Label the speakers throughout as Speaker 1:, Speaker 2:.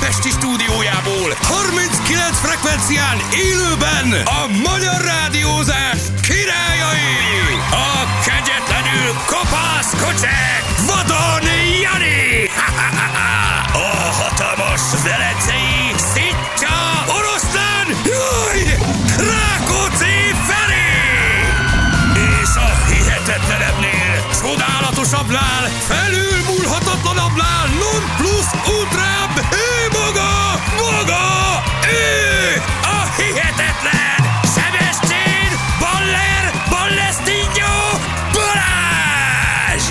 Speaker 1: Pesti stúdiójából 39 frekvencián élőben a magyar rádiózás királyai! A kegyetlenül kopász kocsek Vadon Jani! A hatalmas velencei Szitja Oroszlán! Jaj! Rákóczi Feri! És a hihetetlenebbnél, csodálatosabbnál, felülmúlhatatlanabbnál, non plus ultrább, ő maga, maga, ő a hihetetlen Sebestyén Baller Ballestinho Balázs!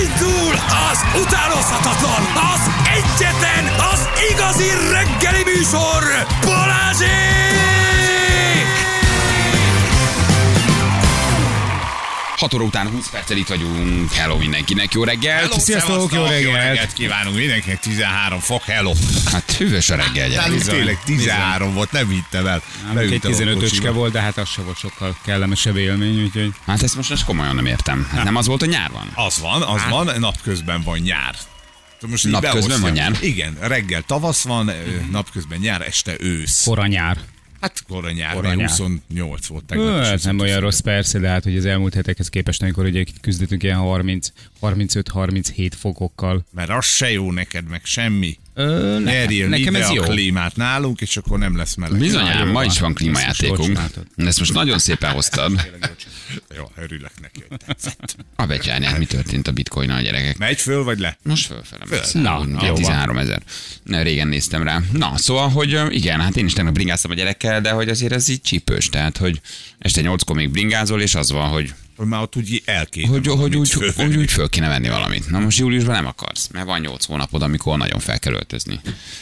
Speaker 1: Indul az utánozhatatlan, az egyetlen, az igazi reggeli műsor Balázsék!
Speaker 2: 6 óra után 20 perccel itt vagyunk. Hello mindenkinek, jó reggel.
Speaker 3: Sziasztok, jó
Speaker 4: Jó
Speaker 3: reggelt.
Speaker 4: reggelt kívánunk mindenkinek, 13 fok, hello.
Speaker 2: Hát hűvös a reggel, gyere.
Speaker 4: Nálunk tényleg 13 volt, nem hittem el.
Speaker 3: Egy
Speaker 4: Beültem a
Speaker 3: 15 öcske
Speaker 4: kocsiba.
Speaker 3: volt, de hát az se volt sokkal kellemesebb élmény, úgyhogy...
Speaker 2: Hát ezt most most komolyan nem értem. Hát nem az volt, hogy nyár van?
Speaker 4: Az van, az van, napközben van nyár. Most így
Speaker 2: Napközben
Speaker 4: beosztjam.
Speaker 2: van nyár?
Speaker 4: Igen, reggel tavasz van, ö,
Speaker 3: Mhm.
Speaker 4: napközben nyár, este ősz.
Speaker 3: Kora nyár.
Speaker 4: Hát kora nyár,
Speaker 3: Kora
Speaker 4: vagy
Speaker 3: nyár.
Speaker 4: 28 volt tegnap.
Speaker 3: Ö,
Speaker 4: is,
Speaker 3: Hát
Speaker 4: ez
Speaker 3: nem
Speaker 4: ott
Speaker 3: olyan
Speaker 4: az-
Speaker 3: rossz persze, de hát hogy az elmúlt hetekhez képest, amikor ugye itt küzdöttünk ilyen 30, 35-37 fokokkal.
Speaker 4: Mert az se jó neked, meg semmi.
Speaker 3: Ö, ne-
Speaker 4: Nyerjél
Speaker 3: nekem
Speaker 4: ide
Speaker 3: ez jó.
Speaker 4: a klímát nálunk, és akkor nem lesz meleg.
Speaker 2: Bizonyám,
Speaker 3: Nagyon
Speaker 2: ma
Speaker 3: van.
Speaker 2: is van
Speaker 3: Ezt
Speaker 2: klímajátékunk.
Speaker 3: most hogy csináltad?
Speaker 2: Ezt most nagyon szépen hoztad.
Speaker 4: Jó, örülök neki, hogy tetszett.
Speaker 2: A becsárnyát, mi történt a bitcoin a gyerekek?
Speaker 4: Megy föl, vagy le?
Speaker 2: Most fölfelem.
Speaker 3: Na, jó van.
Speaker 2: 13 ezer. Régen néztem rá. Na, szóval, hogy ö, igen, hát én is tegnap bringáztam a gyerekkel, de hogy azért ez így csípős. Tehát, hogy este 8-kor még bringázol, és az van, hogy
Speaker 4: Hogy már ott úgy elkét.
Speaker 2: hogy, hogy, úgy, hogy úgy föl kéne venni valamit. Na most júliusban nem akarsz, mert van 8 hónapod, amikor nagyon fel kell öltözni.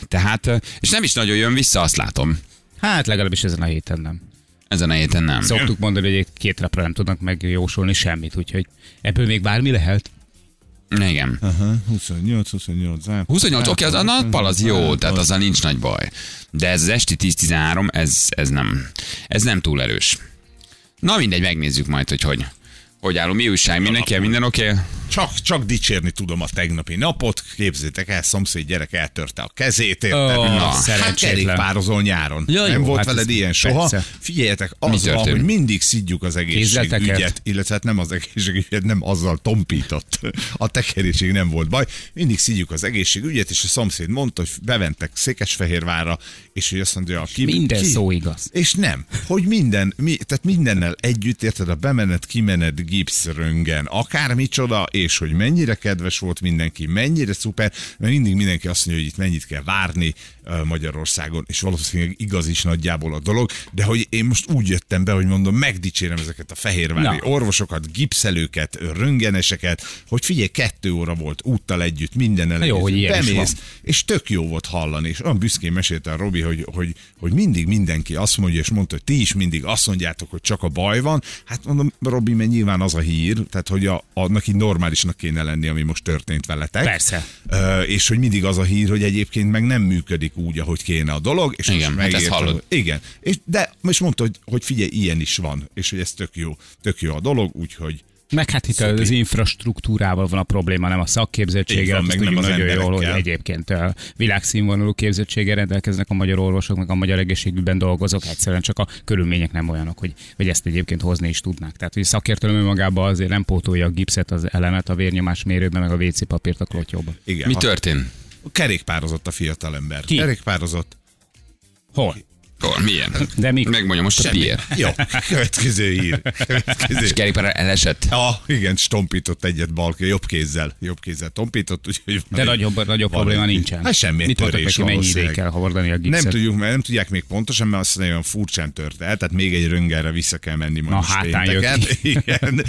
Speaker 2: Tehát, ö, és nem is nagyon jön vissza, azt látom.
Speaker 3: Hát legalábbis ezen a héten nem.
Speaker 2: Ezen a héten nem. Szóval
Speaker 3: Szoktuk mondani, hogy egy- két napra nem tudnak megjósolni semmit, úgyhogy ebből még bármi lehet.
Speaker 2: Igen.
Speaker 4: 28-28 zárt.
Speaker 2: 28, oké, az a nappal az jó, tehát azzal nincs nagy baj. De ez az esti 10-13, ez, ez, nem, ez nem túl erős. Na mindegy, megnézzük majd, hogy hogy, hogy állunk. Mi újság, mindenki, minden oké? Okay?
Speaker 4: Csak, csak dicsérni tudom a tegnapi napot. Képzétek el, szomszéd gyerek eltörte a kezét. érted?
Speaker 3: Ó,
Speaker 4: Na, hát
Speaker 3: szerencsétlen.
Speaker 4: kerékpározol nyáron.
Speaker 3: Ja,
Speaker 4: nem
Speaker 3: jó,
Speaker 4: volt
Speaker 3: hát
Speaker 4: veled
Speaker 3: ez
Speaker 4: ilyen soha.
Speaker 3: persze.
Speaker 4: Figyeljetek,
Speaker 2: Mi
Speaker 4: az van,
Speaker 2: történt?
Speaker 4: hogy mindig szidjuk az egészségügyet,
Speaker 3: Kézleteket?
Speaker 4: illetve hát nem az egészségügyet, nem azzal tompított. A tekeréséig nem volt baj. Mindig szidjuk az egészségügyet, és a szomszéd mondta, hogy beventek Székesfehérvárra, és hogy azt mondja, ki,
Speaker 3: Minden
Speaker 4: ki,
Speaker 3: szó igaz.
Speaker 4: és nem, hogy minden, mi, tehát mindennel együtt, érted, a bemenet, kimenet, gipszröngen, akármicsoda, és hogy mennyire kedves volt mindenki, mennyire szuper, mert mindig mindenki azt mondja, hogy itt mennyit kell várni ö, Magyarországon, és valószínűleg igaz is nagyjából a dolog, de hogy én most úgy jöttem be, hogy mondom, megdicsérem ezeket a fehérvári
Speaker 3: Na.
Speaker 4: orvosokat, gipszelőket, röngeneseket, hogy figyelj, kettő óra volt úttal együtt, minden
Speaker 3: Na jó,
Speaker 4: Egyébként
Speaker 3: hogy ilyen is
Speaker 4: bemész,
Speaker 3: van.
Speaker 4: és tök jó volt hallani, és olyan büszkén mesélte a Robi, hogy, hogy, hogy mindig mindenki azt mondja, és mondta, hogy ti is mindig azt mondjátok, hogy csak a baj van. Hát mondom, Robi, mert nyilván az a hír, tehát hogy a, annak így normálisnak kéne lenni, ami most történt veletek.
Speaker 3: Persze.
Speaker 4: Ö, és hogy mindig az a hír, hogy egyébként meg nem működik úgy, ahogy kéne a dolog. És
Speaker 2: Igen,
Speaker 4: most
Speaker 2: hát ezt
Speaker 4: megértem,
Speaker 2: hallod.
Speaker 4: hogy- Igen, és, de most mondta, hogy, hogy figyelj, ilyen is van, és hogy ez tök jó, tök jó a dolog, úgyhogy
Speaker 3: Meg hát itt az infrastruktúrával van a probléma, nem a
Speaker 4: Így
Speaker 3: szakképzettséggel,
Speaker 4: van,
Speaker 3: azt
Speaker 4: meg
Speaker 3: tudjuk
Speaker 4: nem az
Speaker 3: nagyon jól, hogy
Speaker 4: emberekkel.
Speaker 3: egyébként ö, világszínvonalú képzettséggel rendelkeznek a magyar orvosok, meg a magyar egészségügyben dolgozók, egyszerűen csak a körülmények nem olyanok, hogy, hogy ezt egyébként hozni is tudnák. Tehát, hogy szakértelem önmagában azért nem pótolja a gipszet, az elemet, a vérnyomás mérőben, meg a WC papírt a klotyóba.
Speaker 4: igen.
Speaker 2: Mi
Speaker 4: ha-
Speaker 2: történt?
Speaker 4: Kerékpározott a fiatalember.
Speaker 3: Ki?
Speaker 4: Kerékpározott.
Speaker 3: Hol?
Speaker 2: Hol, milyen?
Speaker 3: De mi?
Speaker 2: Megmondja most a Pierre.
Speaker 4: Jó, következő hír.
Speaker 2: És
Speaker 4: Következő.
Speaker 2: kerékpára elesett.
Speaker 4: Ja, igen, stompított egyet bal, jobb kézzel, jobb kézzel tompított, úgyhogy... van
Speaker 3: De
Speaker 4: egy-
Speaker 3: nagyobb, nagyobb
Speaker 4: van
Speaker 3: probléma
Speaker 4: egy-
Speaker 3: nincsen.
Speaker 4: Hát semmi
Speaker 3: Mit mondtak
Speaker 4: törés
Speaker 3: neki, mennyi ideig
Speaker 4: valószínűleg.
Speaker 3: kell hordani a gipszet?
Speaker 4: Nem tudjuk, mert nem tudják még pontosan, mert azt mondja, olyan furcsán tört el, tehát még egy röngelre vissza kell menni majd
Speaker 3: Na,
Speaker 4: most
Speaker 3: hátán
Speaker 4: pénteken.
Speaker 3: jött
Speaker 4: Igen,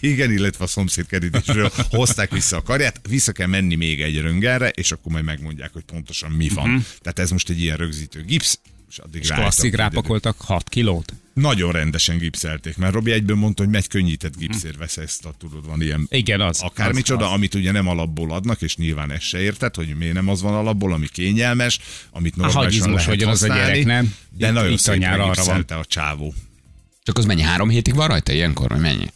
Speaker 4: igen, illetve a szomszéd kerítésről hozták vissza a karját, vissza kell menni még egy röngelre, és akkor majd megmondják, hogy pontosan mi van. Tehát ez most egy ilyen rögzítő gipsz, és addig
Speaker 3: Mhm. És
Speaker 4: ráálltak,
Speaker 3: klasszik
Speaker 4: hogy
Speaker 3: rápakoltak 6 kilót.
Speaker 4: Nagyon rendesen gipszelték, mert Robi egyből mondta, hogy megy könnyített gipszért vesz ezt, a, tudod, van ilyen
Speaker 3: Igen, az.
Speaker 4: akármicsoda,
Speaker 3: az, az.
Speaker 4: amit ugye nem alapból adnak, és nyilván ezt se érted, hogy miért nem az van alapból, ami kényelmes, amit normálisan
Speaker 3: hagyizmos
Speaker 4: lehet
Speaker 3: vagyon az a
Speaker 4: használni,
Speaker 3: gyerek, nem?
Speaker 4: De
Speaker 3: Itt-
Speaker 4: nagyon
Speaker 3: itt
Speaker 4: szép
Speaker 3: anyára arra
Speaker 4: megipszelte a csávó.
Speaker 2: Csak az mennyi? Három hétig van rajta ilyenkor, vagy mennyi?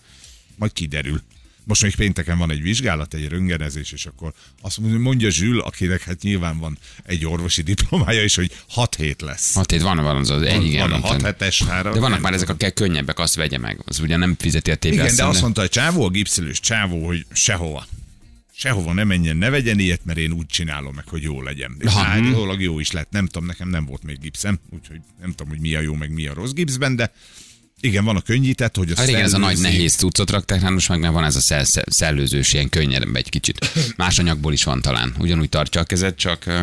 Speaker 4: Majd kiderül. Most még pénteken van egy vizsgálat, egy röngenezés, és akkor azt mondja Zsül, akinek hát nyilván van egy orvosi diplomája is, hogy 6 hét lesz.
Speaker 3: Hát,
Speaker 2: Hat hét van, van az, az egy, igen.
Speaker 4: van a
Speaker 2: nem tudom.
Speaker 4: 6 hetes három.
Speaker 2: De vannak már ezek a ke- könnyebbek, azt vegye meg. Az ugye nem fizeti a tévé.
Speaker 4: Igen, de
Speaker 2: hiszem,
Speaker 4: azt mondta a csávó, a gipszelős csávó, hogy sehova. Sehova ne menjen, ne vegyen ilyet, mert én úgy csinálom meg, hogy jó legyen. És
Speaker 2: Aha.
Speaker 3: Mhm.
Speaker 4: állítólag jó is lett. Nem tudom, nekem nem volt még gipszem, úgyhogy nem tudom, hogy mi a jó, meg mi a rossz gipszben, de igen, van a könnyített, hogy a
Speaker 3: Hát
Speaker 2: Ha régen Hát ez a nagy
Speaker 4: szellőzik.
Speaker 2: nehéz cuccot rakták, hát most meg nem van ez a szel- szel- szellőzős, ilyen könnyebb egy kicsit. Más anyagból is van talán. Ugyanúgy tartja a kezed, csak, ö,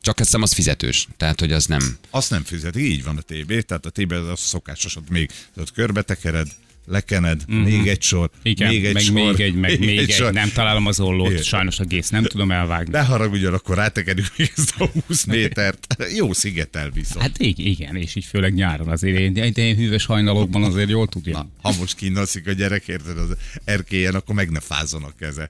Speaker 2: csak azt hiszem az fizetős. Tehát, hogy az nem.
Speaker 4: Azt nem fizeti, így van a TB, tehát a TB az a szokásos, ott még ott körbetekered, lekened, még egy sor,
Speaker 3: Mhm. Igen,
Speaker 4: még egy
Speaker 3: meg
Speaker 4: sor,
Speaker 3: még egy, meg még egy,
Speaker 4: sor.
Speaker 3: nem találom az ollót,
Speaker 4: Igen.
Speaker 3: sajnos a gész, nem tudom elvágni.
Speaker 4: Ne haragudjon, akkor rátekerjük még ezt a 20 métert. Jó szigetel viszont.
Speaker 3: Hát ig- igen, és így főleg nyáron azért én, de én hűvös hajnalokban azért jól tudja.
Speaker 4: ha most kínalszik a gyerek, érted, az erkélyen, akkor meg ne fázzon a keze.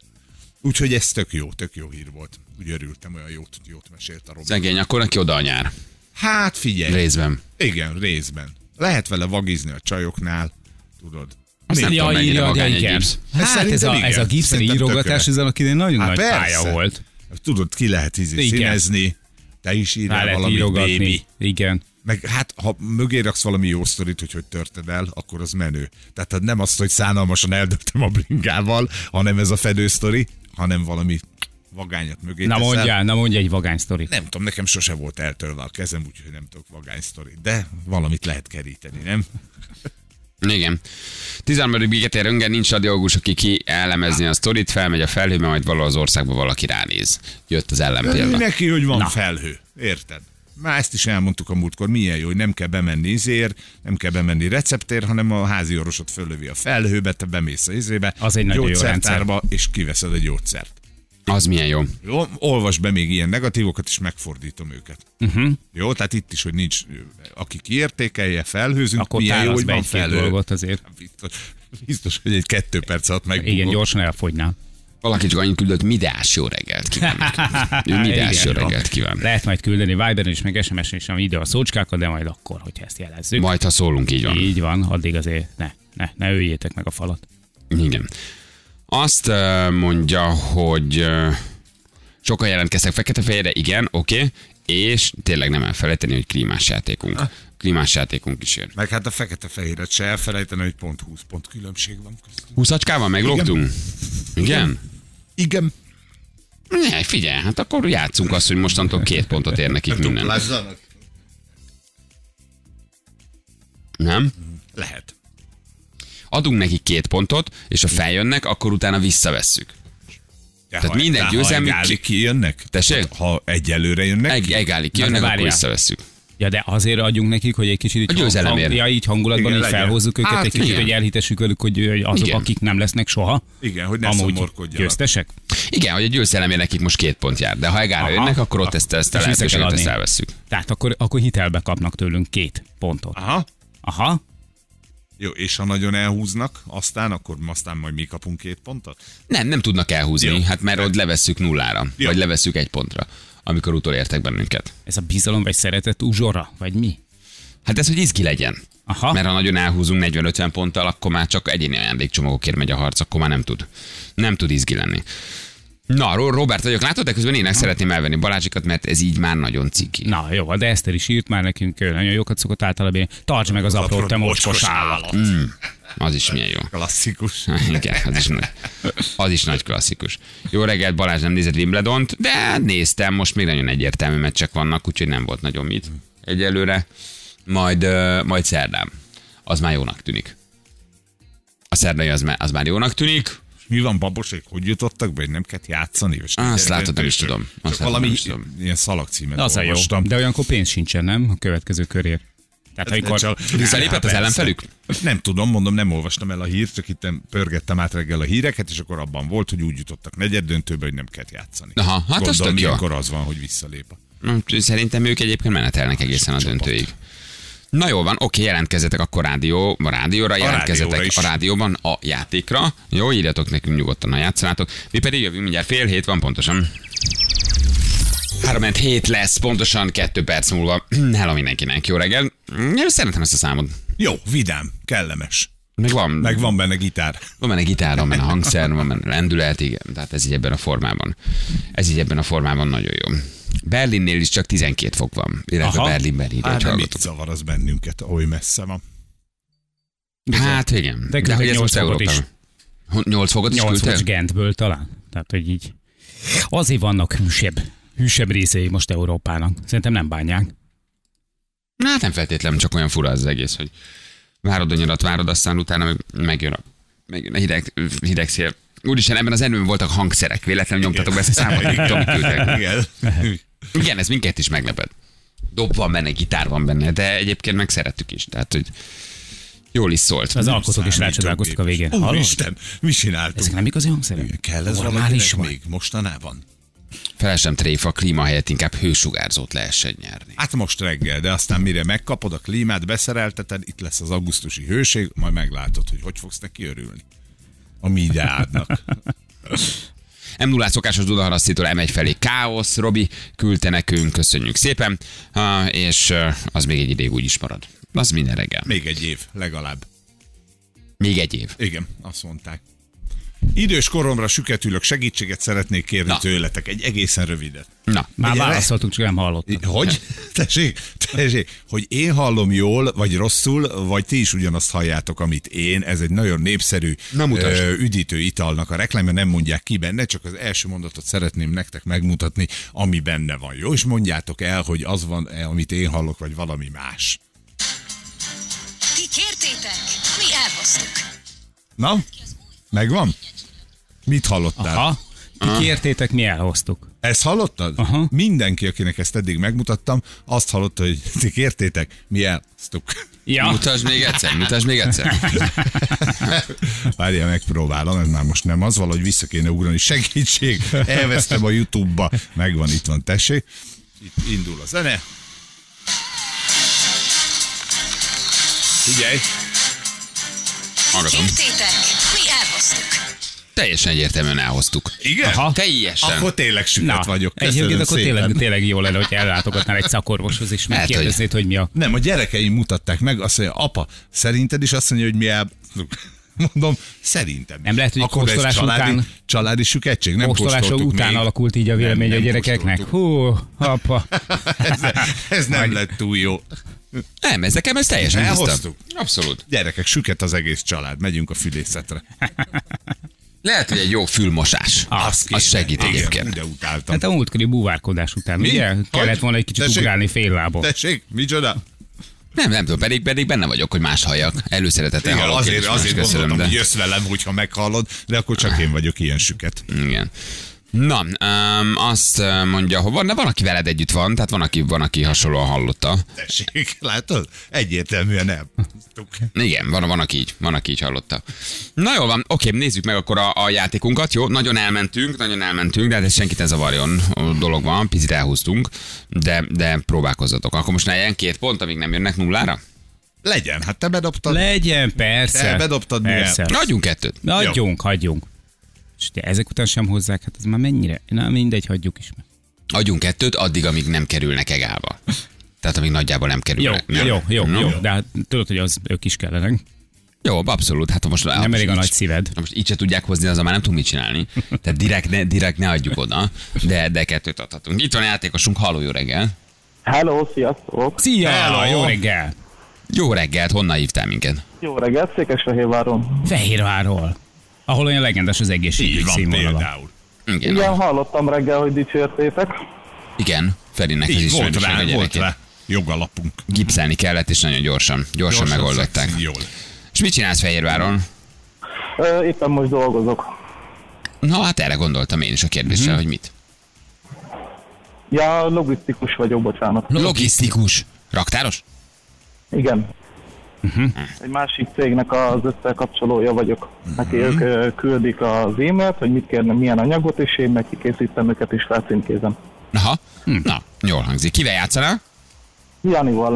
Speaker 4: Úgyhogy ez tök jó, tök jó hír volt. Úgy örültem, olyan jót, jót mesélt a Robi.
Speaker 2: Szegény, akkor neki oda a nyár.
Speaker 4: Hát figyelj,
Speaker 2: Részben.
Speaker 4: igen, részben. Lehet vele vagizni a csajoknál, tudod.
Speaker 2: Azt nem tudom, mennyire vagány egy gipsz.
Speaker 3: Hát ez a,
Speaker 4: Szerintem
Speaker 3: ez a
Speaker 4: igen.
Speaker 3: gipszeri
Speaker 4: Szerintem
Speaker 3: írogatás,
Speaker 4: tökre.
Speaker 3: ezen akinek nagyon
Speaker 4: Hát
Speaker 3: nagy
Speaker 4: persze.
Speaker 3: pálya volt.
Speaker 4: Tudod, ki lehet ízni,
Speaker 3: Igen.
Speaker 4: színezni, te is
Speaker 3: Rá
Speaker 4: írjál
Speaker 3: lehet
Speaker 4: valamit,
Speaker 3: írogatni.
Speaker 4: baby.
Speaker 3: Igen.
Speaker 4: Meg hát, ha mögé raksz valami jó sztorit, hogy hogy törted el, akkor az menő. Tehát hát nem azt, hogy szánalmasan eldöntem a bringával, hanem ez a fedő sztori, hanem valami vagányat mögé
Speaker 3: Na
Speaker 4: teszel.
Speaker 3: mondjál, na mondj egy vagány sztorit.
Speaker 4: Nem tudom, nekem sose volt eltörve a kezem, úgyhogy nem tudok vagány sztorit, de valamit lehet keríteni, nem?
Speaker 2: Igen. 13. Bigetér Röngen nincs radiológus, aki ki elemezni a sztorit, felmegy a felhőbe, majd valahol az országba valaki ránéz. Jött az ellenpélda.
Speaker 4: Neki, hogy van Na. felhő, érted? Már ezt is elmondtuk a múltkor, milyen jó, hogy nem kell bemenni izér, nem kell bemenni receptér, hanem a házi orvosod föllövi a felhőbe, te bemész a izébe,
Speaker 3: Az egy nagyon jó
Speaker 4: gyógyszertárba, és kiveszed a gyógyszert.
Speaker 2: Az milyen jó.
Speaker 4: Jó, olvasd be még ilyen negatívokat, és megfordítom őket.
Speaker 3: Mhm.
Speaker 4: Uh-huh. Jó, tehát itt is, hogy nincs, aki kiértékelje, felhőzünk,
Speaker 3: Akkor
Speaker 4: milyen jó,
Speaker 3: tálasz
Speaker 4: hogy
Speaker 3: be
Speaker 4: van
Speaker 3: egy két
Speaker 4: felhő.
Speaker 3: dolgot azért.
Speaker 4: Biztos, biztos, hogy egy kettő perc alatt meg.
Speaker 3: Igen, gyorsan elfogynál.
Speaker 2: Valaki csak annyit küldött, midás jó reggelt kívánok. Ő midás jó
Speaker 3: Igen.
Speaker 2: reggelt kíván.
Speaker 3: Lehet majd küldeni Viberen is, meg SMS-en is, ami ide a szócskákat, de majd akkor, hogyha ezt jelezzük.
Speaker 2: Majd, ha szólunk, így van.
Speaker 3: Így van, addig azért ne, ne, ne öljétek meg a falat.
Speaker 2: Igen. Azt ö, mondja, hogy ö, sokan jelentkeztek fekete-fehérre, igen, oké, okay. és tényleg nem elfelejteni, hogy klímás játékunk. Klímás játékunk is jön.
Speaker 4: Meg hát a fekete-fehéret se elfelejteni, hogy pont 20 pont különbség van. köztünk.
Speaker 2: Húszacskával meglogtunk? Igen?
Speaker 4: Igen.
Speaker 2: Ne, figyelj, hát akkor játszunk azt, hogy mostantól két pontot ér nekik minden.
Speaker 4: Lázzanak.
Speaker 2: Nem?
Speaker 4: Lehet.
Speaker 2: Adunk nekik két pontot, és ha feljönnek, akkor utána visszavesszük.
Speaker 4: De
Speaker 2: Tehát minden
Speaker 4: de
Speaker 2: győzelmük
Speaker 4: Ha egyálig kijönnek?
Speaker 2: Tessék?
Speaker 4: Hát, Ha egyelőre jönnek?
Speaker 2: Egy, egálig
Speaker 3: Na,
Speaker 2: kijönnek,
Speaker 3: de
Speaker 2: akkor
Speaker 3: várjál.
Speaker 2: visszavesszük.
Speaker 3: Ja, de azért adjunk nekik, hogy egy kicsit így,
Speaker 2: A győzelemért.
Speaker 3: ja, így hangulatban
Speaker 4: Igen,
Speaker 3: igen, így
Speaker 4: legyen.
Speaker 3: felhozzuk őket,
Speaker 4: Hát
Speaker 3: egy kicsit,
Speaker 2: igen.
Speaker 3: hogy elhitessük velük, hogy hogy azok,
Speaker 2: Igen.
Speaker 3: akik nem lesznek soha,
Speaker 4: Igen, hogy ne
Speaker 3: amúgy
Speaker 4: szomorkodjanak.
Speaker 3: győztesek.
Speaker 2: Igen, hogy a győzelemért nekik most két pont jár, de ha egára
Speaker 3: Aha.
Speaker 2: jönnek, akkor ott ezt, ezt a
Speaker 3: És vissza kell
Speaker 2: lehetőséget
Speaker 3: adni.
Speaker 2: ezt elveszük.
Speaker 3: Tehát akkor, akkor hitelbe kapnak tőlünk két pontot.
Speaker 4: Aha.
Speaker 3: Aha,
Speaker 4: Jó, és ha nagyon elhúznak, aztán, akkor aztán majd mi kapunk két pontot?
Speaker 2: Nem, nem tudnak elhúzni,
Speaker 4: Jó.
Speaker 2: Jó. hát mert ott levesszük nullára,
Speaker 4: Jó.
Speaker 2: Jó. vagy levesszük egy pontra, amikor utolértek bennünket.
Speaker 3: ez a bizalom vagy szeretet uzsora, vagy mi?
Speaker 2: Hát ez, hogy izgi legyen.
Speaker 3: Aha.
Speaker 2: Mert ha nagyon elhúzunk 40-50 ponttal, akkor már csak egyéni ajándékcsomagokért megy a harc, akkor már nem tud. Nem tud izgi lenni. Na, Ro- Robert vagyok, látod, de közben én szeretném elvenni Balázsikat, mert ez így már nagyon ciki.
Speaker 3: Na jó, de Eszter is írt már nekünk, ő nagyon jókat szokott általában írni. Tartsd meg az aprót, te Hmm. mocskos állat.
Speaker 2: Az is milyen jó.
Speaker 4: Klasszikus.
Speaker 2: Igen, az is, nagy, az is nagy klasszikus. Jó reggelt, Balázs nem nézett Wimbledont, de hát néztem, most még nagyon egyértelmű meccsek vannak, úgyhogy nem volt nagyon mit egyelőre. Majd, ö, majd szerdán. Az már jónak tűnik. A szerdai az már, az már jónak tűnik.
Speaker 4: És mi van, babosék, hogy jutottak be, hogy nem kellett játszani? És
Speaker 2: Á, azt
Speaker 4: gyerekek,
Speaker 2: látod, nem is
Speaker 4: és
Speaker 2: tudom.
Speaker 4: csak
Speaker 2: Azt látod,
Speaker 4: valami
Speaker 2: nem is tudom.
Speaker 4: ilyen szalagcímet
Speaker 3: Az a jó.
Speaker 4: olvastam.
Speaker 3: De olyankor pénz sincsen, nem? A következő körér. Tehát amikor...
Speaker 4: Csak-
Speaker 2: Visszalépett az
Speaker 4: persze.
Speaker 2: ellenfelük?
Speaker 4: Nem tudom, mondom, nem olvastam el a hírt, csak itt pörgettem át reggel a híreket, és akkor abban volt, hogy úgy jutottak negyed döntőbe, hogy nem kellett játszani.
Speaker 2: Aha, hát az
Speaker 4: Gondolom,
Speaker 2: tök jó.
Speaker 4: ilyenkor az van, hogy visszalép. a-
Speaker 2: Hm, Szerintem ők egyébként menetelnek egészen a
Speaker 4: Sok csapat.
Speaker 2: döntőig. Na jó van, oké, jelentkezzetek akkor rádió, a rádióra, jelentkezzetek
Speaker 4: rádióra is.
Speaker 2: a rádióban a játékra. Jó, írjatok nekünk nyugodtan, ha játszanátok. Mi pedig jövünk mindjárt fél hét van pontosan. 3 hét lesz, pontosan kettő perc múlva. Hello mindenkinek, jó reggel. Én szeretem ezt a számot.
Speaker 4: Jó, vidám, kellemes.
Speaker 2: Meg van,
Speaker 4: Meg van benne gitár.
Speaker 2: van benne gitár, van benne hangszer, van benne lendület, igen. Tehát ez így ebben a formában. Ez így ebben a formában nagyon jó. Berlinnél is csak 12 fok van, illetve Aha. Berlinben így
Speaker 4: hát,
Speaker 2: hát,
Speaker 4: de mit
Speaker 2: hallgatok.
Speaker 4: zavar az bennünket, ahogy messze van.
Speaker 2: Hát igen, de, de
Speaker 3: küldtek
Speaker 2: hogy ez
Speaker 3: 8
Speaker 2: most
Speaker 3: fokot is.
Speaker 2: Európában. 8 fokot is
Speaker 3: 8
Speaker 2: küldtek?
Speaker 3: fokos Gentből talán. Tehát, hogy így. Azért vannak hűsebb, hűsebb részei most Európának. Szerintem nem bánják.
Speaker 2: Na, hát nem feltétlenül, csak olyan fura az egész, hogy várod a nyarat, várod, aztán utána meg, megjön a, megjön a hideg, hideg szél. Úristen, ebben az erőben voltak hangszerek. Véletlenül nyomtatok be ezt a számot, amit Tomi küldtek.
Speaker 4: Igen.
Speaker 2: Igen, ez minket is meglepett. Dob van benne, gitár van benne, de egyébként meg szerettük is. Tehát, hogy jól is szólt.
Speaker 3: Az alkotók is rácsodálkoztak a végén. Hallod?
Speaker 4: Úristen, mi csináltunk?
Speaker 3: Ezek nem igazi hangszerek?
Speaker 4: Kell ez
Speaker 3: Normális
Speaker 4: valakinek
Speaker 3: vagy?
Speaker 4: még mostanában?
Speaker 2: Felesem tréfa, klíma helyett inkább hősugárzót lehessen nyerni.
Speaker 4: Hát most reggel, de aztán mire megkapod a klímát, beszerelteted, itt lesz az augusztusi hőség, majd meglátod, hogy hogy fogsz neki örülni. A mi ideádnak.
Speaker 2: m 0 szokásos Dudaharasztitól M1 felé káosz, Robi küldte nekünk, köszönjük szépen, Ha, és ö, az még egy ideig úgy is marad. Az minden reggel.
Speaker 4: Még egy év, legalább.
Speaker 2: Még egy év.
Speaker 4: Igen, azt mondták. Idős koromra süketülök, segítséget szeretnék kérni
Speaker 2: Na.
Speaker 4: tőletek. Egy egészen rövidet.
Speaker 2: Na,
Speaker 3: Már
Speaker 4: Ugye,
Speaker 3: válaszoltunk, csak nem hallottam.
Speaker 4: Hogy? Tessék, tessék, hogy én hallom jól, vagy rosszul, vagy ti is ugyanazt halljátok, amit én. Ez egy nagyon népszerű
Speaker 2: Na, mutasd.
Speaker 4: ö, üdítő italnak a reklámja, nem mondják ki benne, csak az első mondatot szeretném nektek megmutatni, ami benne van. Jó, és mondjátok el, hogy az van, -e, amit én hallok, vagy valami más.
Speaker 5: Ti kértétek, mi elhoztuk.
Speaker 4: Na, megvan? Mit hallottál? Ah.
Speaker 3: Aha. Ti kértétek, mi elhoztuk.
Speaker 4: Ezt hallottad?
Speaker 3: Aha.
Speaker 4: Mindenki, akinek ezt eddig megmutattam, azt hallotta, hogy ti kértétek, mi elsztuk.
Speaker 3: Ja,
Speaker 2: mutasd még egyszer, mutasd még egyszer.
Speaker 4: Várjál, megpróbálom, ez már most nem az, valahogy vissza kéne ugrani. Segítség, elvesztem a Youtube-ba. Megvan, itt van, tessék. Itt indul a zene. Figyelj,
Speaker 2: Magadom.
Speaker 5: Kértétek, mi elhoztuk.
Speaker 2: Teljesen egyértelműen elhoztuk.
Speaker 4: igen?
Speaker 3: Aha.
Speaker 2: Teljesen.
Speaker 4: Akkor tényleg süket
Speaker 3: Na,
Speaker 4: vagyok.
Speaker 3: egyébként
Speaker 4: Köszönöm
Speaker 3: akkor
Speaker 4: szépen. Hát,
Speaker 3: tényleg, tényleg jó lenne, hogy ellátogatnál egy szakorvoshoz, és
Speaker 2: Lehet, hogy-
Speaker 3: megkérdeznéd, hogy mi a...
Speaker 4: Nem, a gyerekeim mutatták meg, azt mondja, apa, szerinted is azt mondja, hogy mi el... Mondom, szerintem. is.
Speaker 3: Nem lehet, hogy
Speaker 4: Akkor ez
Speaker 3: kóstolás
Speaker 4: családi,
Speaker 3: után-
Speaker 4: családi süketség, nem
Speaker 3: Kóstolása
Speaker 4: kóstoltuk
Speaker 3: után
Speaker 4: még.
Speaker 3: alakult így a vélemény
Speaker 4: Nem,
Speaker 3: a
Speaker 4: nem
Speaker 3: gyerekeknek. Hú, apa.
Speaker 4: ez, ez nem lett túl jó.
Speaker 2: Nem, ez nekem ez teljesen
Speaker 4: Elhoztuk.
Speaker 2: tiszta. Abszolút.
Speaker 4: Gyerekek, süket az egész család, megyünk a fülészetre.
Speaker 2: Lehet, hogy egy jó fülmosás. Ah, Az, az segít
Speaker 4: Igen,
Speaker 2: egyébként.
Speaker 4: De utáltam.
Speaker 3: Hát a múltkori búvárkodás után,
Speaker 4: Mi?
Speaker 3: ugye?
Speaker 4: Hogy?
Speaker 3: Kellett volna egy kicsit
Speaker 4: Tessék?
Speaker 3: ugrálni fél lábon.
Speaker 4: Tessék, micsoda?
Speaker 2: Nem, nem tudom, pedig, pedig benne vagyok, hogy más halljak. Előszeretettel
Speaker 4: Igen,
Speaker 2: hallok. én
Speaker 4: azért,
Speaker 2: is, más
Speaker 4: azért
Speaker 2: köszönöm,
Speaker 4: gondoltam,
Speaker 2: de-
Speaker 4: hogy jössz velem, hogyha meghallod, de akkor csak én vagyok ilyen süket.
Speaker 2: Igen. Na, um, azt ö, mondja, hogy van, de van, aki veled együtt van, tehát van, aki, van, aki hasonlóan hallotta.
Speaker 4: Tessék, látod? Egyértelműen nem.
Speaker 2: Igen, van, van, aki így, van, aki így hallotta. Na jól van, oké, nézzük meg akkor a, a játékunkat, jó? Nagyon elmentünk, nagyon elmentünk, de hát ez senkit ne zavarjon, a dolog van, picit elhúztunk, de, de próbálkozzatok. Akkor most ne legyen két pont, amíg nem jönnek nullára?
Speaker 4: Legyen, hát te bedobtad.
Speaker 3: Legyen, persze.
Speaker 4: Te bedobtad, mi
Speaker 3: persze.
Speaker 2: Na, adjunk kettőt.
Speaker 3: Na,
Speaker 4: Jó.
Speaker 3: Adjunk, hagyjunk. És ugye ezek után sem hozzák, hát ez már mennyire? Na mindegy, hagyjuk is. meg.
Speaker 2: Adjunk kettőt, addig, amíg nem kerülnek egába. Tehát amíg nagyjából nem
Speaker 3: Jó,
Speaker 2: kerülnek. nem?
Speaker 3: jó, jó,
Speaker 2: No?
Speaker 3: jó, De hát tudod, hogy az ők is kellenek.
Speaker 2: Jó, abszolút. Hát ha most
Speaker 3: Nem elég a nagy szíved.
Speaker 2: Ha most így se tudják hozni, az már nem tudunk mit csinálni. Tehát direkt ne, direkt ne adjuk oda, de, de kettőt adhatunk. Itt van a játékosunk, halló, jó reggel.
Speaker 6: Hello, sziasztok!
Speaker 3: Szia,
Speaker 4: Hello.
Speaker 3: jó reggel.
Speaker 2: Jó reggelt, honnan hívtál minket?
Speaker 6: Jó reggelt, Székesfehérváron.
Speaker 3: Fehérvárról. Ahol olyan legendás az
Speaker 4: Így
Speaker 3: egészségügy
Speaker 4: van
Speaker 3: színvonala.
Speaker 4: például.
Speaker 2: Igen,
Speaker 6: Igen,
Speaker 2: a-
Speaker 6: hallottam reggel, hogy dicsértétek.
Speaker 2: igen Ferinek az
Speaker 4: Így
Speaker 2: is
Speaker 4: volt
Speaker 2: sajnos meg a
Speaker 4: rá, volt
Speaker 2: gyerekét.
Speaker 4: rá. Jogalapunk.
Speaker 2: Gipszelni kellett, és nagyon gyorsan, gyorsan,
Speaker 4: Gyorsan,
Speaker 2: megoldották.
Speaker 4: szexi, Jól.
Speaker 2: És mit csinálsz Fehérváron?
Speaker 6: Ö, Éppen most dolgozok.
Speaker 2: Na, hát erre gondoltam én is a kérdéssel,
Speaker 3: Mhm.
Speaker 2: hogy mit.
Speaker 6: Ja, logisztikus vagyok, bocsánat.
Speaker 2: Logisztikus. Raktáros?
Speaker 6: Igen. Egy másik cégnek az összekapcsolója vagyok. Neki ők ö, küldik az e-mailt, hogy mit kérne, milyen anyagot, és én meg kikészítem őket és felcímkézem.
Speaker 2: Aha. Hm, Na, jól hangzik. Kivel játszanál?
Speaker 6: Janival.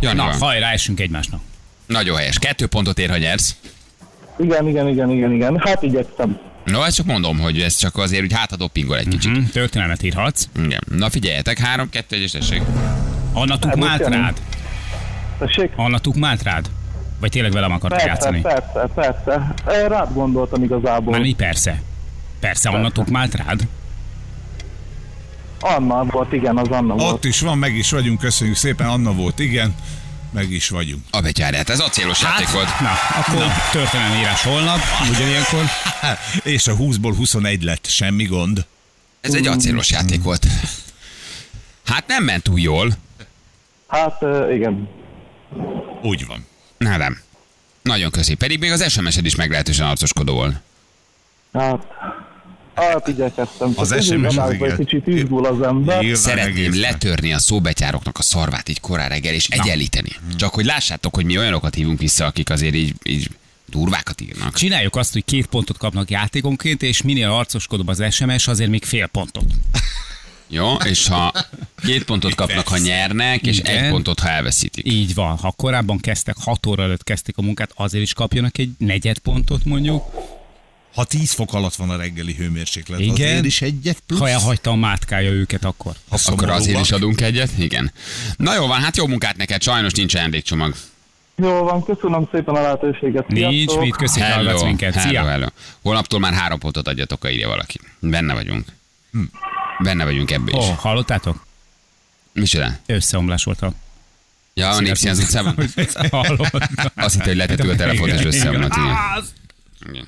Speaker 2: Janival.
Speaker 3: Na, hajrá, essünk egymásnak.
Speaker 2: Nagyon helyes. Kettő pontot ér, ha nyersz.
Speaker 6: Igen, igen, igen, igen, igen. Hát igyekszem.
Speaker 2: No, ezt csak mondom, hogy ez csak azért, hogy hát a doppingol egy kicsit.
Speaker 3: Hm? Történelmet írhatsz.
Speaker 2: Igen. Na figyeljetek, három, kettő, egyes tessék.
Speaker 3: Anna tuk
Speaker 6: Hát,
Speaker 3: mált
Speaker 6: igen.
Speaker 3: rád.
Speaker 6: Tessék?
Speaker 3: Anna tuk mált rád. Vagy tényleg velem akartál
Speaker 6: Persze,
Speaker 3: játszani?
Speaker 6: persze, persze. Ö, Rád gondoltam igazából.
Speaker 3: Már mi persze. Persze, annatok már rád.
Speaker 6: Anna volt, igen, az Anna volt.
Speaker 4: Ott is van, meg is vagyunk, köszönjük szépen. Anna volt, igen, meg is vagyunk.
Speaker 2: A betyárját, ez acélos hát. játék volt.
Speaker 3: na, akkor na. történelmi írás holnap, ugyanilyenkor.
Speaker 4: És a 20-ból 21 lett, semmi gond.
Speaker 2: Ez egy acélos játék volt. Hát nem ment túl jól.
Speaker 6: Hát ö, igen.
Speaker 4: Úgy van.
Speaker 2: Na, nem. Nagyon köszi. Pedig még az SMS-ed is meglehetősen arcoskodó volt.
Speaker 6: Hát, hát igyekeztem.
Speaker 4: Az
Speaker 6: Csak ez
Speaker 4: SMS az
Speaker 6: igazából
Speaker 4: igen.
Speaker 6: egy kicsit izgul az ember.
Speaker 4: Nyilván
Speaker 2: Szeretném
Speaker 4: egészen.
Speaker 2: letörni a szóbetyároknak a szarvát így korán reggel, és egyenlíteni. Csak hogy lássátok, hogy mi olyanokat hívunk vissza, akik azért így, így durvákat írnak.
Speaker 3: Csináljuk azt, hogy két pontot kapnak játékonként, és minél arcoskodóbb az SMS, azért még fél pontot.
Speaker 2: Jó, és ha két pontot kapnak, ha nyernek, és
Speaker 3: Igen.
Speaker 2: egy pontot, ha elveszítik.
Speaker 3: Így van, ha korábban kezdtek, 6 óra előtt kezdték a munkát, azért is kapjanak egy negyed pontot mondjuk.
Speaker 4: Ha 10 fok alatt van a reggeli hőmérséklet,
Speaker 3: Igen.
Speaker 4: azért is egyet plusz.
Speaker 3: Ha elhagyta a mátkája őket, akkor.
Speaker 4: ha
Speaker 2: Akkor
Speaker 4: szomorúak.
Speaker 2: azért is adunk egyet? Igen. Na jó van, hát jó munkát neked, sajnos nincs ajándékcsomag.
Speaker 6: Jó van, köszönöm szépen a lehetőséget.
Speaker 3: Nincs
Speaker 6: Sziasztok.
Speaker 3: mit, köszi, hogy hallgatsz minket.
Speaker 2: hello,
Speaker 3: Szia!
Speaker 2: hello. Holnaptól már három pontot adjatok, ha írja valaki. Benne vagyunk. Benne vagyunk ebbe
Speaker 3: Ó,
Speaker 2: is.
Speaker 3: oh,
Speaker 2: Oh.
Speaker 3: hallottátok?
Speaker 2: Micsoda?
Speaker 3: Összeomlás volt a...
Speaker 2: Ja, a népszi az utcában?
Speaker 3: Hallottam.
Speaker 2: Azt hitte, hogy letettük a telefont, és
Speaker 3: Igen,
Speaker 2: összeomlott.
Speaker 3: igen.
Speaker 2: Igen. Igen.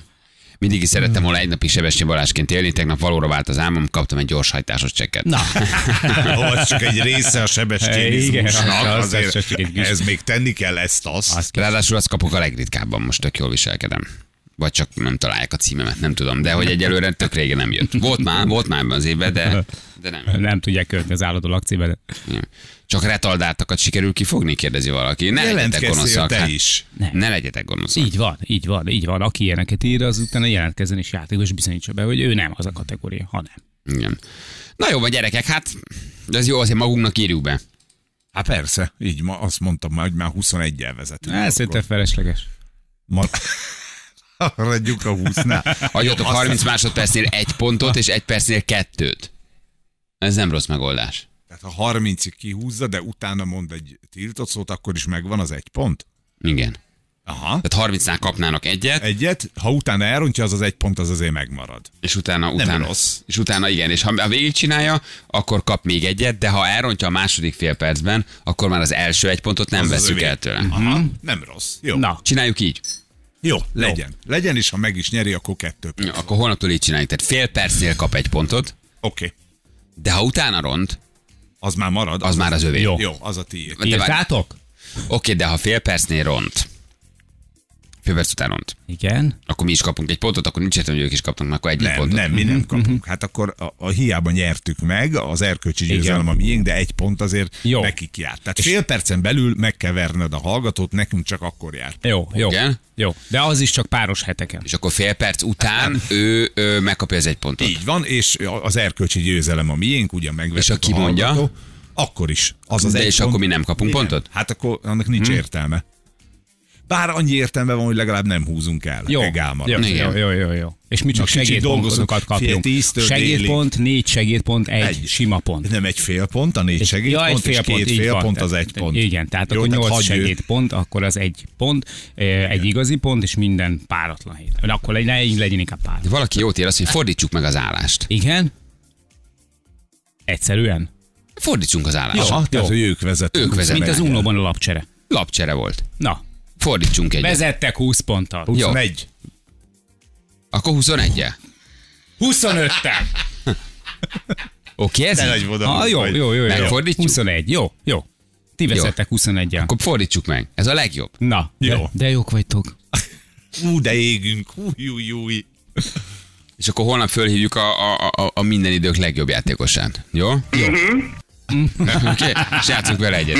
Speaker 2: Mindig is szerettem volna egy napig Sebestyén Balázsként élni, tegnap valóra vált az álmom, kaptam egy gyorshajtásos csekket.
Speaker 3: Na,
Speaker 4: Ó, az csak egy része a
Speaker 3: Igen,
Speaker 4: sebesténizmusnak,
Speaker 3: az- az
Speaker 4: azért
Speaker 3: csak egy kis-
Speaker 4: ez még tenni kell ezt-azt.
Speaker 3: az kell.
Speaker 2: Ráadásul azt kapok a legritkábban, most tök jól viselkedem. Vagy csak nem találják a címemet, nem tudom. De hogy egyelőre tök régen nem jött. Volt már, volt már ebben az évben, de, de nem. jött.
Speaker 3: Nem tudják követni az állandó lakcímet.
Speaker 2: Igen. Csak retardáltakat sikerül kifogni, kérdezi valaki. Ne legyetek
Speaker 4: Jelentkezzél
Speaker 2: gonoszak.
Speaker 4: te
Speaker 2: hát.
Speaker 4: is.
Speaker 2: Ne legyetek gonoszak.
Speaker 3: Így van, így van, így van. Aki ilyeneket ír, az utána jelentkezzen és játékos bizonyítsa be, hogy ő nem az a kategória, hanem.
Speaker 2: Igen. Na jó, van gyerekek, hát ez jó, azért magunknak írjuk be.
Speaker 4: Hát persze, így ma azt mondtam már, hogy már 21-el vezetünk.
Speaker 2: Hát,
Speaker 3: Ez
Speaker 4: Akkor
Speaker 3: szerintem felesleges.
Speaker 4: ma- Maradjuk a 20-nál.
Speaker 2: Adjatok
Speaker 4: Jó, azt
Speaker 2: 30 másodpercnél egy pontot, és egy percnél kettőt. Ez nem rossz megoldás.
Speaker 4: Tehát ha 30-ig kihúzza, de utána mond egy tiltott szót, akkor is megvan az egy pont.
Speaker 2: Igen.
Speaker 4: Aha.
Speaker 2: Tehát 30-nál kapnának egyet,
Speaker 4: Egyet, ha utána elrontja, az az egy pont, az azért megmarad.
Speaker 2: és utána, utána,
Speaker 4: rossz.
Speaker 2: és utána igen, és ha végigcsinálja, akkor kap még egyet, de ha elrontja a második fél percben, akkor már az első egy pontot nem
Speaker 4: Az az
Speaker 2: veszük
Speaker 4: övé. Mhm.
Speaker 2: el tőle.
Speaker 4: Aha, nem rossz. Jó,
Speaker 3: Na,
Speaker 2: Csináljuk így.
Speaker 4: jó legyen. Jó. Legyen, és ha meg is nyeri, akkor kettő. Oké.
Speaker 2: Ja, Akkor holnaptól így csináljuk. Tehát fél percnél kap egy pontot,
Speaker 4: Okay.
Speaker 2: de ha utána ront,
Speaker 4: Az már marad.
Speaker 2: az már az övé.
Speaker 3: Jó.
Speaker 4: Jó, az a tiéd.
Speaker 2: De várj.
Speaker 3: írtátok?
Speaker 2: Oké, de ha fél percnél ront, fél perc után ront,
Speaker 3: Igen.
Speaker 2: akkor mi is kapunk egy pontot, akkor nincs értelme, hogy ők is kapnak, mert akkor egy
Speaker 4: Nem,
Speaker 2: pontot.
Speaker 4: nem, mi nem
Speaker 2: mhm.
Speaker 4: kapunk. Hát akkor a, a hiába nyertük meg, az erkölcsi győzelem a miénk, de egy pont azért
Speaker 3: Jó.
Speaker 4: Jó. nekik járt. Tehát fél percen belül meg kell verned a hallgatót, nekünk csak akkor járt.
Speaker 3: Jó, jó.
Speaker 2: Igen?
Speaker 3: Jó, de az is csak páros heteken.
Speaker 2: És akkor fél perc után ő, ő megkapja az egy pontot.
Speaker 4: Így van, és az erkölcsi győzelem a miénk, ugyan megvettük
Speaker 2: És aki
Speaker 4: a
Speaker 2: mondja?
Speaker 4: hallgató, akkor is. Az az
Speaker 2: De
Speaker 4: egy
Speaker 2: és
Speaker 4: pont.
Speaker 2: akkor mi nem kapunk
Speaker 4: Igen.
Speaker 2: pontot? Mhm.
Speaker 4: Hát akkor annak nincs hmm. értelme. Bár annyi értelme van, hogy legalább nem húzunk el.
Speaker 3: Jó.
Speaker 4: Egál marad.
Speaker 3: Jó, jó,
Speaker 2: Igen.
Speaker 3: jó, jó, jó. És mi csak
Speaker 4: Na, kicsit
Speaker 3: segédpontokat
Speaker 4: dolgozunk, fél
Speaker 3: kapjunk.
Speaker 4: tíztől
Speaker 3: Segédpont, négy segédpont, egy,
Speaker 4: Egy.
Speaker 3: sima pont.
Speaker 4: Nem egy fél pont, a négy segédpont, és két
Speaker 3: így
Speaker 4: fél
Speaker 3: van.
Speaker 4: pont az
Speaker 3: Tehát-
Speaker 4: egy pont.
Speaker 3: Igen, tehát akkor
Speaker 4: tehát
Speaker 3: nyolc
Speaker 4: hagyj ő-
Speaker 3: segédpont, akkor az egy pont, eh, egy igazi pont, és minden páratlan hét. Na, Akkor legyen, így legyen inkább páratlan.
Speaker 2: Valaki jót ér azt, hogy fordítsuk meg az állást.
Speaker 3: Igen? Egyszerűen?
Speaker 2: Fordítsunk az állást.
Speaker 4: Aha, Ah, tehát,
Speaker 3: jó.
Speaker 4: hogy ők vezetnek.
Speaker 2: Ők vezetnek.
Speaker 3: Mint az unóban a lapcsere.
Speaker 2: Lapcsere volt.
Speaker 3: Na,
Speaker 2: Fordítsunk egyet.
Speaker 3: vezettek 20 ponttal.
Speaker 2: Jó.
Speaker 4: 21.
Speaker 2: Akkor 21 -e.
Speaker 3: 25-tel!
Speaker 2: Oké, ez?
Speaker 4: Te
Speaker 2: így?
Speaker 4: nagy vodom.
Speaker 3: Ah, jó, jó, jó, jó.
Speaker 2: Megfordítjuk?
Speaker 3: 21, jó, jó. Ti vezettek 21 -en.
Speaker 2: Akkor fordítsuk meg. Ez a legjobb.
Speaker 3: Na,
Speaker 4: Jó.
Speaker 3: De, de jók vagytok.
Speaker 4: Ú, de égünk. Új, új, új.
Speaker 2: És akkor holnap fölhívjuk a, a, a, a minden idők legjobb játékosát. Jó? Jó.
Speaker 3: Mhm.
Speaker 2: Oké, és játszunk vele egyet.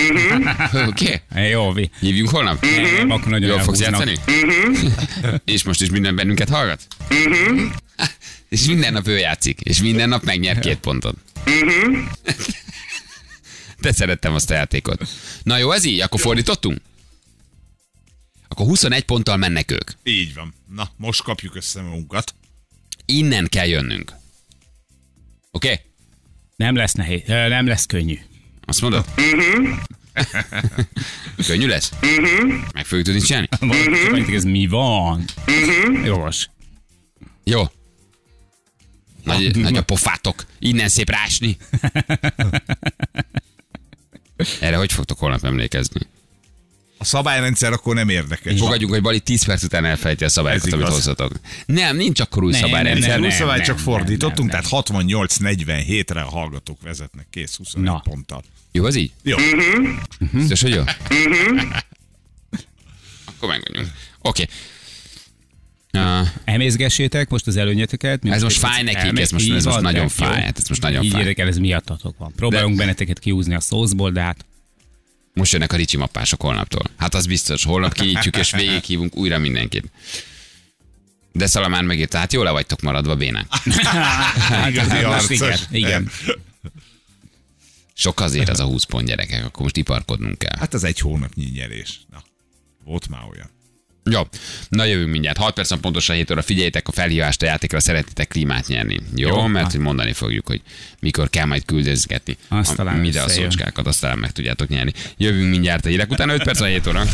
Speaker 2: Oké,
Speaker 3: Eh, Jó, vi.
Speaker 2: hívjunk holnap?
Speaker 3: Nem, Mhm. Akkor nagyon
Speaker 2: Jól fogsz
Speaker 3: elhúznak. Mhm.
Speaker 2: játszani? és most is minden bennünket hallgat? és minden nap ő játszik, és minden nap megnyer két pontot.
Speaker 3: Mhm.
Speaker 2: Te szerettem azt a játékot. Na jó, ez így? Akkor fordítottunk? Akkor 21 ponttal mennek ők.
Speaker 4: Így van. Na, most kapjuk össze magunkat.
Speaker 2: Innen kell jönnünk. Oké? Okay?
Speaker 3: Nem lesz nehéz, ö, nem lesz eh, könnyű.
Speaker 2: Azt mondod? Könnyű lesz? Meg fogjuk tudni csinálni?
Speaker 3: Mhm. Valahogy ez mi van? Jogos.
Speaker 2: Jó. Nagy, nagy a pofátok. Innen szép rásni. Erre hogy fogtok holnap emlékezni?
Speaker 4: A szabályrendszer akkor nem érdekes.
Speaker 2: Fogadjuk, hogy Bali 10 perc után elfejti a szabályokat,
Speaker 4: Ez
Speaker 2: amit
Speaker 4: igaz.
Speaker 2: hozzatok. Nem, nincs akkor új
Speaker 3: Nem,
Speaker 2: szabályrendszer.
Speaker 4: Nem,
Speaker 3: nem,
Speaker 4: nem, szabály,
Speaker 3: nem,
Speaker 4: csak
Speaker 3: nem,
Speaker 4: fordítottunk,
Speaker 3: nem,
Speaker 4: tehát 68-47-re a hallgatók vezetnek. Kész, 21
Speaker 3: Na.
Speaker 4: ponttal.
Speaker 2: Jó, az így?
Speaker 4: Jó.
Speaker 2: Biztos, hogy jó? Akkor megmondjuk. Oké. Ah,
Speaker 3: Emészgessétek most az előnyötöket.
Speaker 2: Ez
Speaker 3: Mindenki
Speaker 2: most fáj
Speaker 3: most
Speaker 2: nekik, ez most- ez
Speaker 3: elmegy.
Speaker 2: most
Speaker 3: Így
Speaker 2: nagyon
Speaker 3: van,
Speaker 2: fáj,
Speaker 3: jó.
Speaker 2: hát ez most nagyon
Speaker 3: Így
Speaker 2: fáj.
Speaker 3: érdekel, ez miattatok van. Próbálunk
Speaker 2: De-
Speaker 3: benneteket kiúzni a szószból, de hát
Speaker 2: most jönnek a ricsi mappások holnaptól. Hát az biztos, holnap kinyitjuk és végighívunk újra mindenkit. De Szalamán megírta, hát jól le vagytok maradva, bénák.
Speaker 4: Igazi
Speaker 3: Most
Speaker 4: arcos.
Speaker 3: Hát,
Speaker 4: Hát,
Speaker 3: igen, igen.
Speaker 2: Sok azért az a 20 pont gyerekek, akkor most iparkodnunk kell.
Speaker 4: Hát az egy hónapnyi nyerés. Na, volt már olyan.
Speaker 2: Jó, na jövünk mindjárt. 6 percen pontosan 7 óra. Figyeljétek a felhívást a játékra, szeretnétek klímát nyerni. Jó, Jó mert hogy mondani fogjuk, hogy mikor kell majd küldözgetni.
Speaker 3: Azt
Speaker 2: a-
Speaker 3: talán
Speaker 2: Ide a
Speaker 3: összejön.
Speaker 2: szócskákat, azt talán meg tudjátok nyerni. Jövünk mindjárt a hírek után, 5 perc a 7 óra.